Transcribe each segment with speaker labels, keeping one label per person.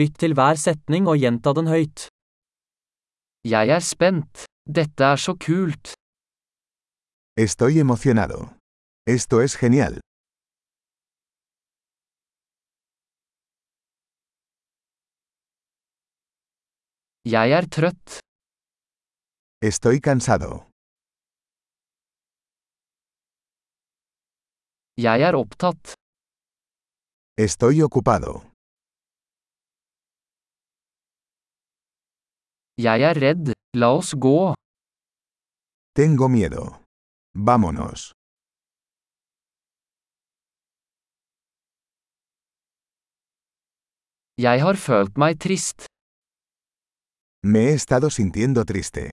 Speaker 1: Lytt til hver setning og gjenta den høyt. Jeg er spent. Dette er så kult.
Speaker 2: Estoy emocionado. Esto es genial.
Speaker 1: Jeg er trøtt.
Speaker 2: Estoy cansado.
Speaker 1: Jeg er opptatt.
Speaker 2: Estoy ocupado.
Speaker 1: Jeg er redd. La oss gå.
Speaker 2: Tengo miedo. Vámonos.
Speaker 1: Jeg har følt meg trist.
Speaker 2: Me he estado sintiendo triste.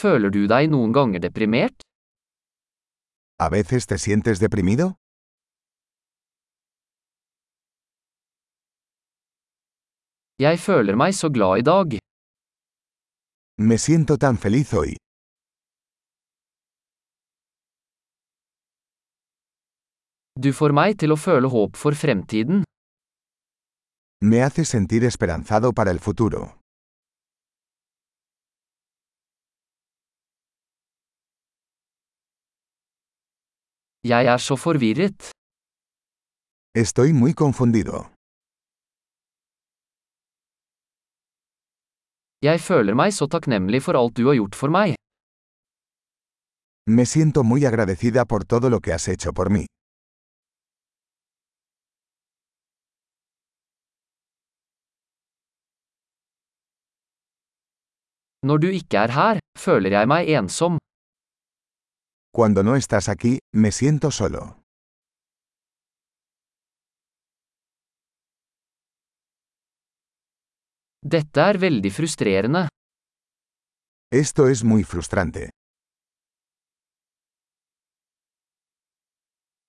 Speaker 1: Føler du deg noen ganger deprimert?
Speaker 2: ¿A veces te sientes deprimido?
Speaker 1: Jeg føler meg så glad i dag.
Speaker 2: Me siento tan feliz hoy.
Speaker 1: Du får meg til å føle håp for fremtiden.
Speaker 2: Me hace sentir esperanzado para el futuro.
Speaker 1: Jeg er så forvirret.
Speaker 2: Estoy muy confundido.
Speaker 1: Jeg føler meg så takknemlig for alt du har gjort for meg.
Speaker 2: Me siento muy agradecida por todo lo que has hecho por mí.
Speaker 1: Når du ikke er her, føler jeg meg ensom.
Speaker 2: Cuando no estás aquí, me siento solo.
Speaker 1: Dette er veldig frustrerende.
Speaker 2: Esto es muy frustrante.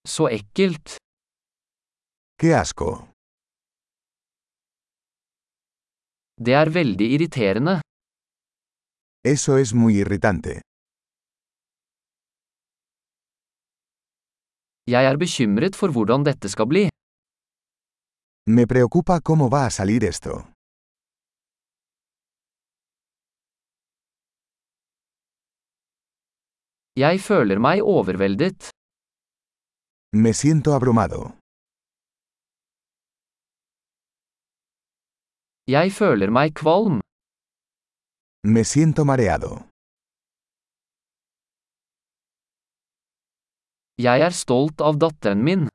Speaker 1: Så ekkelt.
Speaker 2: ¡Qué asco!
Speaker 1: Det er veldig irriterende.
Speaker 2: Eso es muy irritante.
Speaker 1: Jeg er bekymret for hvordan dette skal bli.
Speaker 2: Me preocupa cómo va a salir esto.
Speaker 1: Jeg føler meg overveldet.
Speaker 2: Me siento abrumado.
Speaker 1: Jeg føler meg kvalm.
Speaker 2: Me siento mareado.
Speaker 1: Jeg er stolt av datteren min.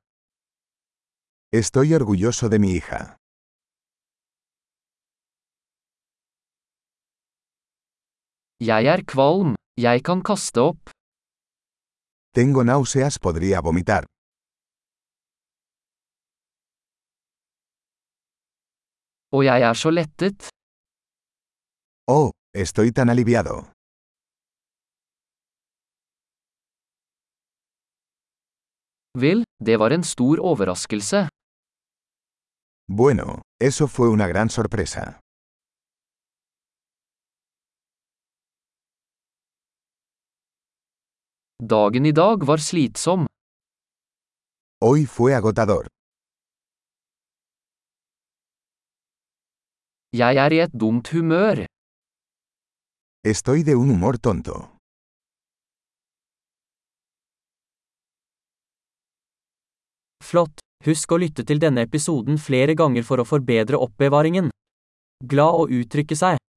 Speaker 2: Estoy orgulloso de mi hija.
Speaker 1: Jeg er kvalm. Jeg kan kaste opp.
Speaker 2: Tengo náuseas, podría vomitar.
Speaker 1: Og jeg er så lettet.
Speaker 2: Oh, estoy tan aliviado.
Speaker 1: Vel, det var en stor overraskelse.
Speaker 2: Bueno, eso fue una gran sorpresa.
Speaker 1: Dagen i dag var slitsom.
Speaker 2: Hoy fue agotador.
Speaker 1: Jeg er i et dumt humør.
Speaker 2: Estoy de un humor tonto.
Speaker 1: Flott! Husk å lytte til denne episoden flere ganger for å forbedre oppbevaringen. Glad å uttrykke seg.